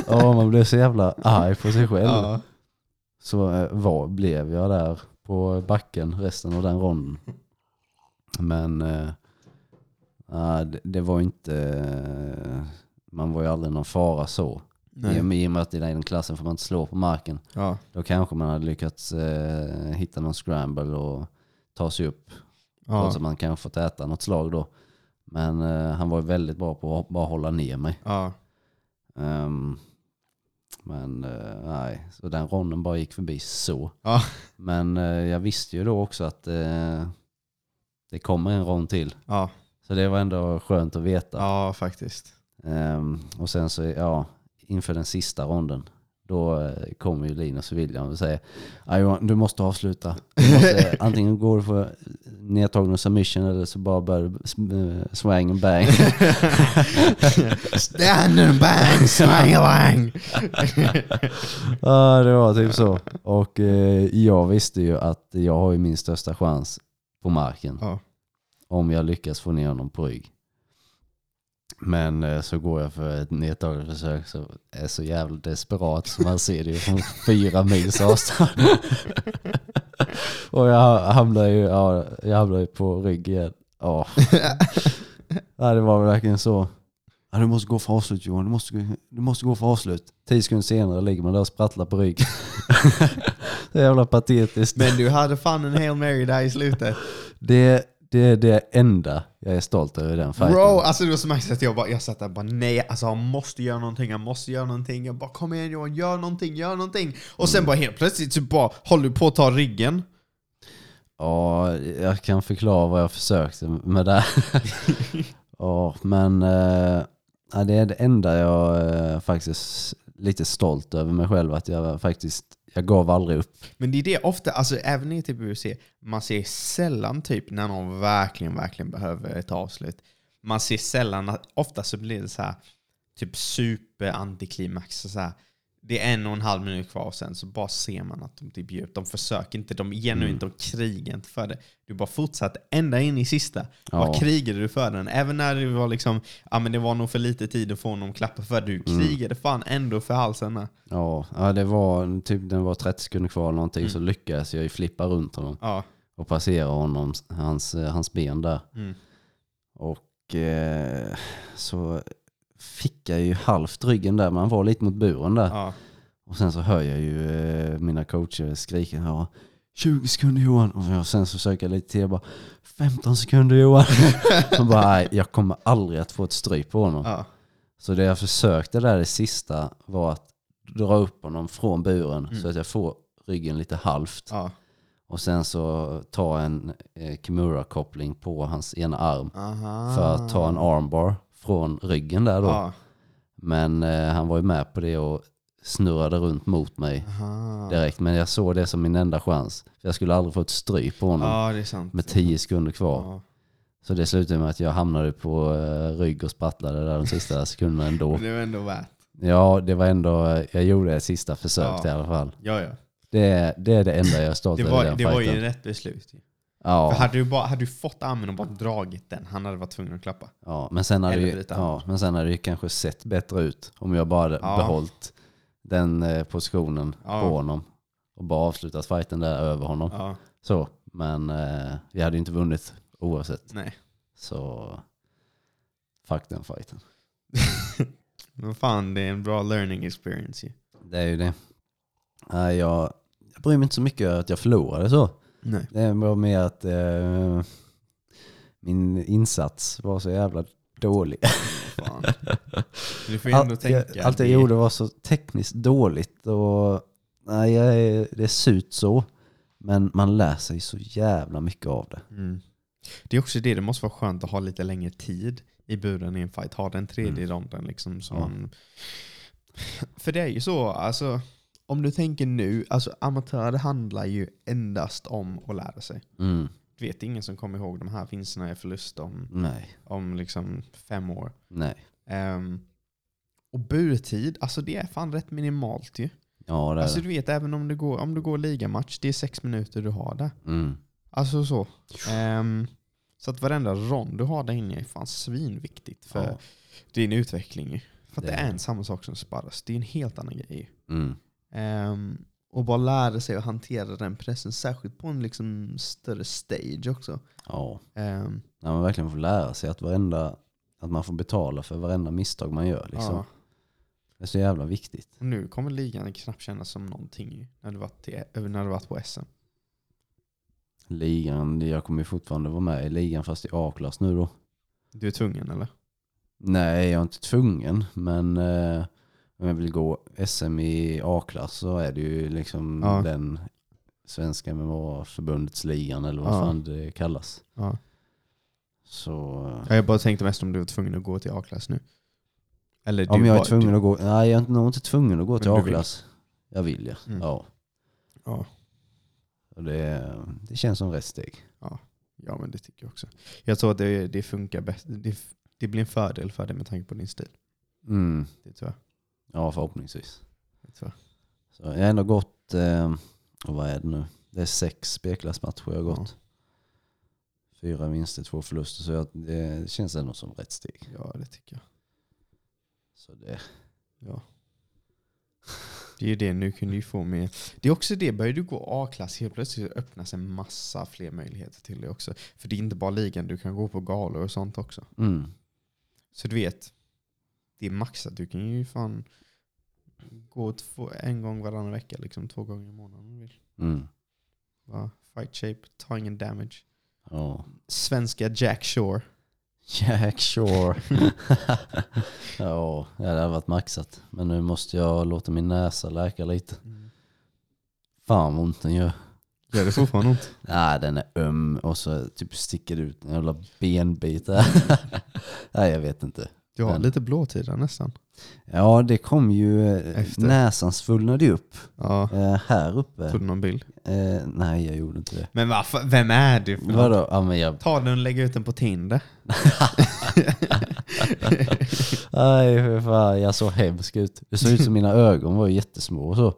Och man blev så jävla arg på sig själv. Ja. Så eh, var, blev jag där på backen resten av den ronden. Men eh, ja, det, det var ju inte... eh, Man var ju aldrig någon fara så. I och, Nej. med, I och med att i den klassen får man inte slå på marken. Ja. Då kanske man hade lyckats eh, hitta någon scramble och ta sig upp. Ja. Trots att man kanske fått äta något slag då. Men eh, han var ju väldigt bra på att bara hålla ner mig. Ja. Ehm, men eh, nej, så den ronden bara gick förbi så. Ja. Men eh, jag visste ju då också att eh, det kommer en rond till. Ja. Så det var ändå skönt att veta. ja, faktiskt. Ehm, och sen så, ja, inför den sista ronden, då eh, kommer "Ah, ju Linus och William och säger "Ja, Johan, du måste avsluta. Du måste, antingen går du för nedtagna submission eller så bara började eh, swang and bang. Stand and bang, swang and bang. Ja, det var typ så. Och eh, jag visste ju att jag har ju min största chans på marken. Ja. Om jag lyckas få ner honom på rygg. Men eh, så går jag för ett nedtaget försök så är så jävla desperat så man ser det ju från fyra mils avstånd. Och jag hamnar ju, ja, jag hamnar ju på rygg igen. Ja. ja, det var verkligen så. Ja, du måste gå för avslut Johan, du måste, gå- du måste gå för avslut. Tio sekunder senare ligger man där och sprattlar på rygg. det är jävla patetiskt. Men du hade fan en Hail Mary där i slutet. Det, det är det enda jag är stolt över i den fighten. Bro, alltså det var så märkligt att jag bara, jag satt där och bara nej, alltså han måste göra någonting, han måste göra någonting. Jag bara kom igen Johan, gör någonting, gör någonting. Och sen bara helt plötsligt så bara håller du på att ta ryggen. Ja, jag kan förklara vad jag försökte med det. ja, men eh, ja, det är det enda jag eh, faktiskt lite stolt över mig själv att jag faktiskt, jag gav aldrig upp. Men det är det ofta, alltså även i typ UFC, man ser sällan typ när någon verkligen, verkligen behöver ett avslut. Man ser sällan, att- ofta så blir det så här typ superantiklimax. och Så här, det är en och en halv minut kvar och sen så bara ser man att de typ ger upp. De försöker inte, de är genuint, de krigar inte för det. Du bara fortsatte ända in i sista. Ja. Vad krigade du för den? Även när det var liksom, ja men det var nog för lite tid att få honom att klappa för. Du krigade fan ändå för halsen. Ja, ja det var typ den var 30 sekunder kvar eller någonting så lyckades jag ju flippa runt honom Ja. och passera honom, hans, eh, hans ben där. Mm. Och eh, så fick jag ju halvt ryggen där, man var lite mot buren där. ja. Och sen så hör jag ju eh, mina coacher skrika ja, 20 sekunder Johan. Och jag sen så söker jag lite till och bara 15 sekunder Johan. och bara, "Nej, jag kommer aldrig att få ett stryk på honom. ja. Så det jag försökte där det sista var att dra upp honom från buren så att jag får ryggen lite halvt. ja. Och sen så ta en eh, Kimura-koppling på hans ena arm Aha. för att ta en armbar från ryggen där då. Ja. Men eh, han var ju med på det och snurrade runt mot mig Aha. direkt. Men jag såg det som min enda chans. För jag skulle aldrig få ett stryk på honom Ja, det är sant. med 10 sekunder kvar. Ja. Så det slutade med att jag hamnade på eh, rygg och sprattlade där de sista sekunderna ändå. Men Det var ändå värt. Ja, det var ändå, eh, jag gjorde ett sista försök Ja. i alla fall. Ja, ja. Det är det, är det enda jag är stolt Det över i var, den det fighten. var ju rätt beslut. För ja, hade, du bara, hade du fått armen och bara dragit den, han hade varit tvungen att klappa. ja, men sen hade Eller ju, bryta. ja, men sen hade det ju kanske sett bättre ut om jag bara hade Ja. behållit den eh, positionen Ja. på honom och bara avslutat fighten där över honom. Ja, Så, men eh, vi hade ju inte vunnit oavsett. nej. Så fuck den fighten. Men fan, det är en bra learning experience ju. Det är ju det. Nej, jag, jag bryr mig inte så mycket att jag förlorade så. Nej. Det var mer att eh, min insats var så jävla dålig. Fan. Du får ju ändå allt, tänka. jag, allt jag det- gjorde var så tekniskt dåligt. Och, nej, jag är, det ser ut så. Men man lär sig så jävla mycket av det. Mm. Det är också det, det måste vara skönt att ha lite längre tid i buren i en fight. Ha den tredje Mm. ronden liksom. Så Ja. man... För det är ju så, alltså, om du tänker nu, alltså amatörer handlar ju endast om att lära sig. Mm, Du vet, det är ingen som kommer ihåg de här vinsterna i förlust om, nej, om liksom fem år. nej. Ehm, och burtid, alltså det är fan rätt minimalt ju. Ja, det är Alltså det. du vet, även om du går, om du går ligamatch, det är sex minuter du har där. Mm. Alltså så. Ehm, så att varenda rond du har där inne är fan svinviktigt för Ja, din utveckling. ju. För att det, Det är är det. en samma sak som sparras. Det är en helt annan grej. ju. mm, Ehm, och bara lära sig att hantera den pressen, särskilt på en liksom större stage också. ja. Ehm, När man verkligen får lära sig att varenda att man får betala för varenda misstag man gör. Liksom. ja. Det är så jävla viktigt. Och nu kommer ligan knappt kännas som någonting ju, när du varit, till, när du varit på SM. Ligan, jag kommer ju fortfarande vara med i ligan fast i A-klass nu då. Du är tvungen eller? Nej, jag är inte tvungen, men eh, om jag vill gå SM i A-klass så är det ju liksom Ja. den svenska MMA-förbundets ligan eller vad Ja. fan det kallas. Ja. Så Ja, Jag bara tänkte mest om du var tvungen att gå till A-klass nu. Eller om du jag är bara- tvungen du, att gå, nej jag är nog inte tvungen att gå till Men du vill. A-klass. Jag vill ja. Mm. ja. Ja. Och Det, det känns som rätt steg. Ja. Ja men det tycker jag också. Jag tror att det, det funkar bäst. Det, f- det blir en fördel för dig med tanke på din stil. Mm. Det tror jag. Ja, förhoppningsvis. Det tror jag. Så jag har ändå gått, eh, och vad är det nu? Det är sex spelklassmatcher jag har gått. Fyra vinster, två förluster. Så jag, det känns ändå som rätt steg. Ja det tycker jag. Så det, Ja. Det är ju det, nu kan du ju få mer. Det är också det, börjar du gå A-klass helt plötsligt öppnas en massa fler möjligheter till dig också. För det är inte bara ligan, du kan gå på galor och sånt också. mm. Så du vet, det är maxat. Du kan ju fan gå två, en gång varannan vecka, liksom två gånger i månaden om du vill. Mm. Va? Fight shape, ta ingen damage. Ja. Svenska Jack Shore. Jack Shore. ja, det hade varit maxat. Men nu måste jag låta min näsa läka lite. Fan vad ont den gör. Gör det fortfarande ont? Nej, den är öm och så typ sticker det ut en jävla benbit där. Nej, jag vet inte. Du har Men- lite blåtira nästan. Ja, det kom ju... eh, Efter. Näsan svullnade ju upp. Ja. Eh, här uppe. Tog du någon bild? Eh, nej, jag gjorde inte det. Men varför? vem är du? för något? Vadå? Ja, men jag... Ta den och lägg ut den på Tinder. Aj, för fan, jag såg hemsk ut. Det såg ut som mina ögon var ju jättesmå och så.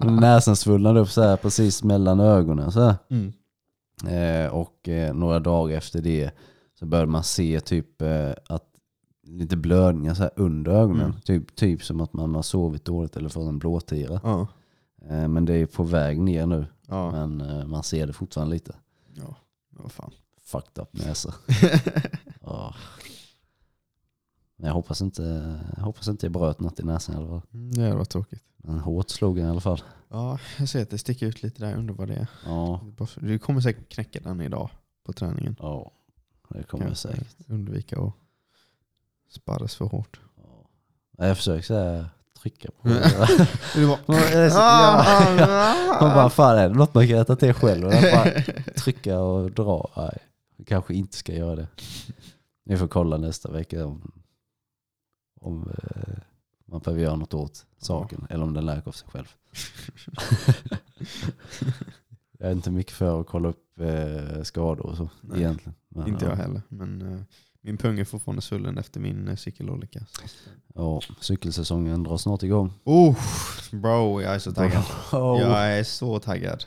Näsan svullnade upp så här precis mellan ögonen. Så här. Mm. Eh, och eh, några dagar efter det så började man se typ eh, att lite blödningar så här under ögonen. Mm. Typ, typ som att man har sovit dåligt eller fått en blåtira. Ja. Eh, men det är på väg ner nu. Ja. Men eh, man ser det fortfarande lite. Ja. Vad fan. Fucked up näsa. Ja. Men jag hoppas inte jag hoppas inte jag bröt något i näsan i alla fall. Mm, Det var tråkigt. Men hårt slog den i alla fall. Ja, jag ser att det sticker ut lite där. Jag undrar vad det är. Ja, Bara för- Du kommer säkert knäcka den idag på träningen. ja. det kommer jag Kanske säkert. Undvika att sparras för hårt. Ja. Jag försöker så här, trycka på Mm. det. Du bara, Man är så- ja, ja. Man bara, fan är det något man kan rätta till själv? Och jag bara trycka och dra. Nej, jag kanske inte ska göra det. Ni får kolla nästa vecka om, om eh, man behöver göra något åt saken. Eller om den läker av sig själv. jag är inte mycket för att kolla upp eh, skador och så Nej, egentligen. Men, Inte ja. jag heller. Men eh, min pung är fortfarande svullen efter min eh, cykelolycka. Så- Ja, cykelsäsongen drar snart igång. Oh, bro, jag är så taggad. Ja, Jag är så taggad.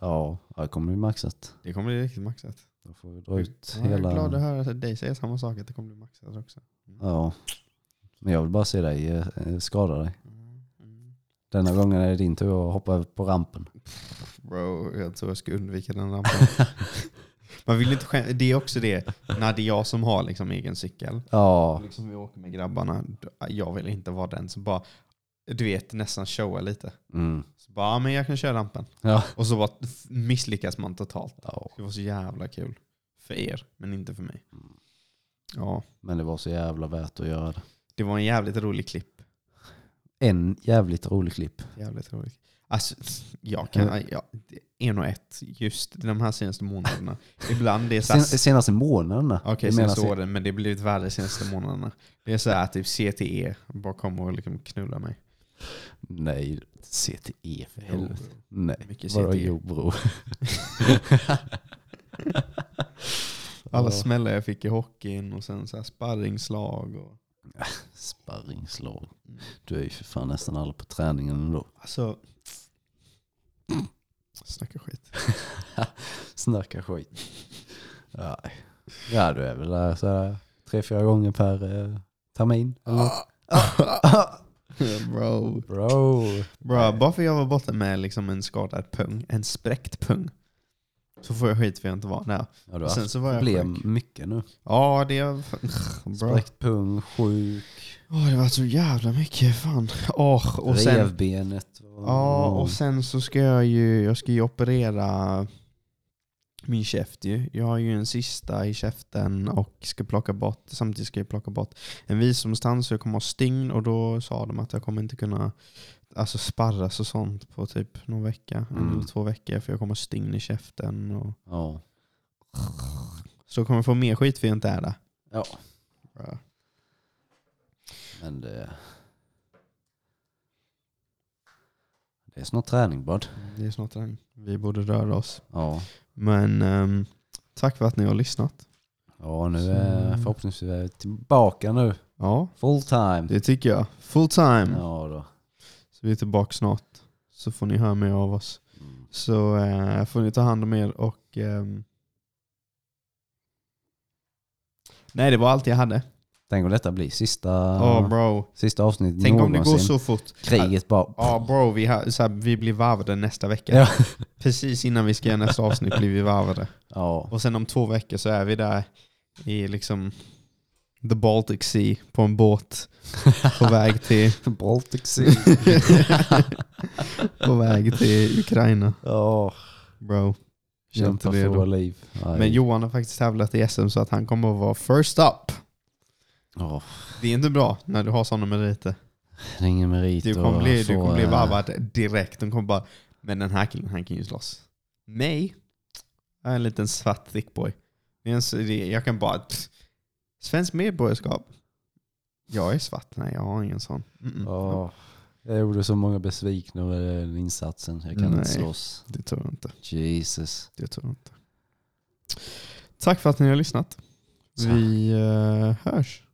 ja, det kommer bli maxat. Det kommer bli riktigt maxat. Då får vi dra ut Ja, Jag hela... är glad att höra att dig säga samma sak, att det kommer bli maxat också. Ja. Men jag vill bara se dig eh, skada dig. Mm, mm. Denna gången är det din tur att hoppa över på rampen. Bro, jag tror jag ska undvika den rampen. Man vill inte skäm- Det är också det, när det är jag som har liksom egen cykel. Ja, Liksom vi åker med grabbarna, jag vill inte vara den som bara, du vet, nästan showa lite. mm. Så bara, ja, men jag kan köra rampen. ja. Och så bara misslyckas man totalt. ja. Det var så jävla kul. För er, men inte för mig. Mm. Ja, Men det var så jävla värt att göra det. det var en jävligt rolig klipp. En jävligt rolig klipp. Jävligt rolig. Alltså, jag kan... Mm. Jag, en och ett, just de här senaste månaderna. Ibland det är så här, Sen, senaste månaderna. Okej, Jag menar senaste sen- åren, men det har blivit värre de senaste månaderna. Det är så här, typ CTE bara kommer och liksom knulla mig. Nej, CTE för helvete. Nej, Mycket E. vadå CTE. jo bro. Alla Ja. smällar jag fick i hockeyn och sen så här sparringslag. Och, Sparringslag. Du är ju för fan nästan aldrig på träningen ändå. alltså... Snacka skit. Snacka skit. Nej. Ja, du är väl där så här, tre, fyra gånger per eh, termin. Eller något. Ah. Bro. Bro. Bra, bara för jag var borta med liksom en skadad pung, en spräckt pung, så får jag skit för jag inte var där. Ja, du Och har Sen haft så var jag problem sjuk. mycket nu. Ja, det... Bra. Spräckt pung, sjuk, Åh, det var så jävla mycket. Fan. Åh, och sen... revbenet. Ja, och sen så ska jag ju, jag ska ju operera min käft ju. Jag har ju en sista i käften och ska plocka bort, samtidigt ska jag plocka bort en visdomstand så jag kommer ha stygn och då sa de att jag kommer inte kunna alltså sparras och sånt på typ någon vecka, en Mm. eller två veckor för jag kommer ha stygn i käften. Och, Ja. så kommer jag få mer skit för jag inte är där. Ja. Ja. Men det... Det är snart träning bud. Det är snart träning. Vi borde röra oss. Ja. Men ehm, tack för att ni har lyssnat. ja, nu är Så- förhoppningsvis är vi tillbaka nu. Ja, Full time. det tycker jag. Full time. Ja då. Så vi är tillbaka snart. Så får ni höra mer av oss. Mm. Så eh, får ni ta hand om er och... ehm, Nej, det var allt jag hade. Tänk om detta blir sista, Ja, bro. sista avsnittet Tänk om någonsin. det går så fort. Kriget bara... Ja, bro, vi, har, så här, vi blir varvade nästa vecka. Ja. Precis innan vi ska göra nästa avsnitt blir vi varvade. ja. Och sen om två veckor så är vi där i liksom the Baltic Sea på en båt på väg till, Baltic Sea. på väg till Ukraina. Ja. Bro, känn Kämpa inte för det våra då. liv. Aj. Men Johan har faktiskt tävlat i SM så att han kommer att vara first up. Ja, Det är inte bra när du har sådana meriter. det är ingen merit Du kommer bli, att du få, kommer bli eh, varvad direkt. De kommer bara, men den här killen han kan ju slåss. Mig? Jag är en liten svart thick boy. Det är en s- det- Jag kan bara, pff, svensk medborgarskap. Jag är svart, nej jag har ingen sån. Mm-mm. Ja. Jag gjorde så många besvikna över den insatsen. Jag kan Nej. inte slåss. Det tror jag inte. Jesus. Det tror jag inte. Tack för att ni har lyssnat. Vi eh, hörs.